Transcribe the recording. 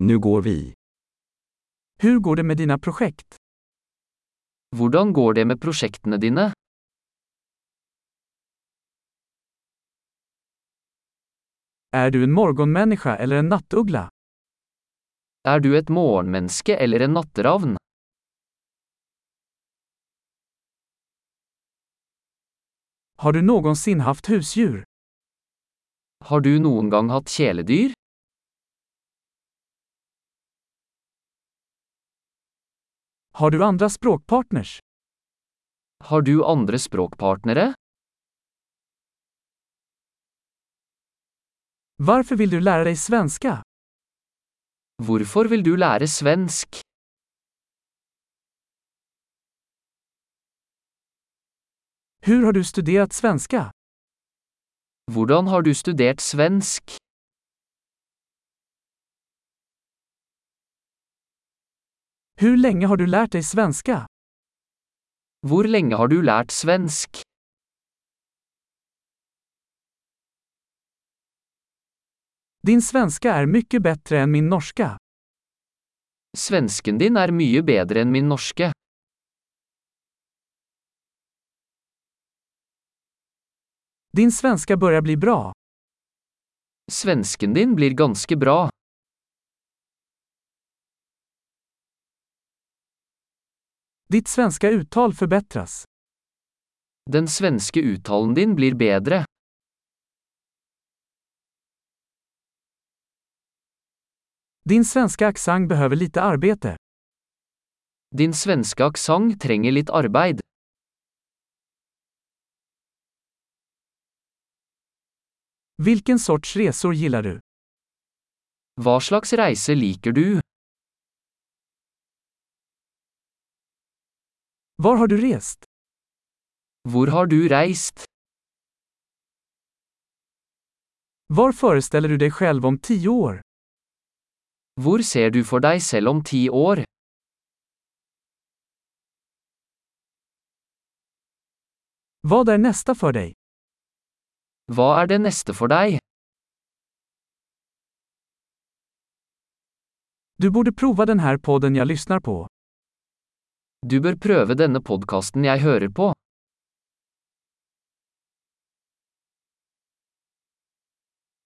Nu går vi. Hur går det med dina projekt? Hvordan går det med prosjektene dine? Är du en morgonmänniska eller en nattuggla? Er du et morgenmenneske eller en natteravn? Har du någonsin haft husdjur? Har du noen gang hatt kjæledyr? Har du andra språkpartners? Har du andre språkpartnere? Varför vill du lära dig svenska? Hvorfor vil du lære svensk? Hur har du studerat svenska? Hvordan har du studert svensk? Hur länge har du lärt dig svenska? Hvor lenge har du lært svensk? Din svenska är mycket bättre än min norska. Svensken din er mye bedre enn min norske. Din svenska börjar bli bra. Svensken din blir ganske bra. Ditt svenska uttal förbättras. Den svenske uttalen din blir bedre. Din svenska accent behöver lite arbete. Din svenske aksent trenger litt arbeid. Vilken sorts resor gillar du? Hva slags reise liker du? Var har du rest? Hvor har du reist? Var föreställer du dig själv om tio år? Hvor ser du for deg selv om ti år? Vad är nästa för dig? Hva er det neste for deg? Du borde prova den här podden jag lyssnar på. Du bør prøve denne podkasten jeg hører på.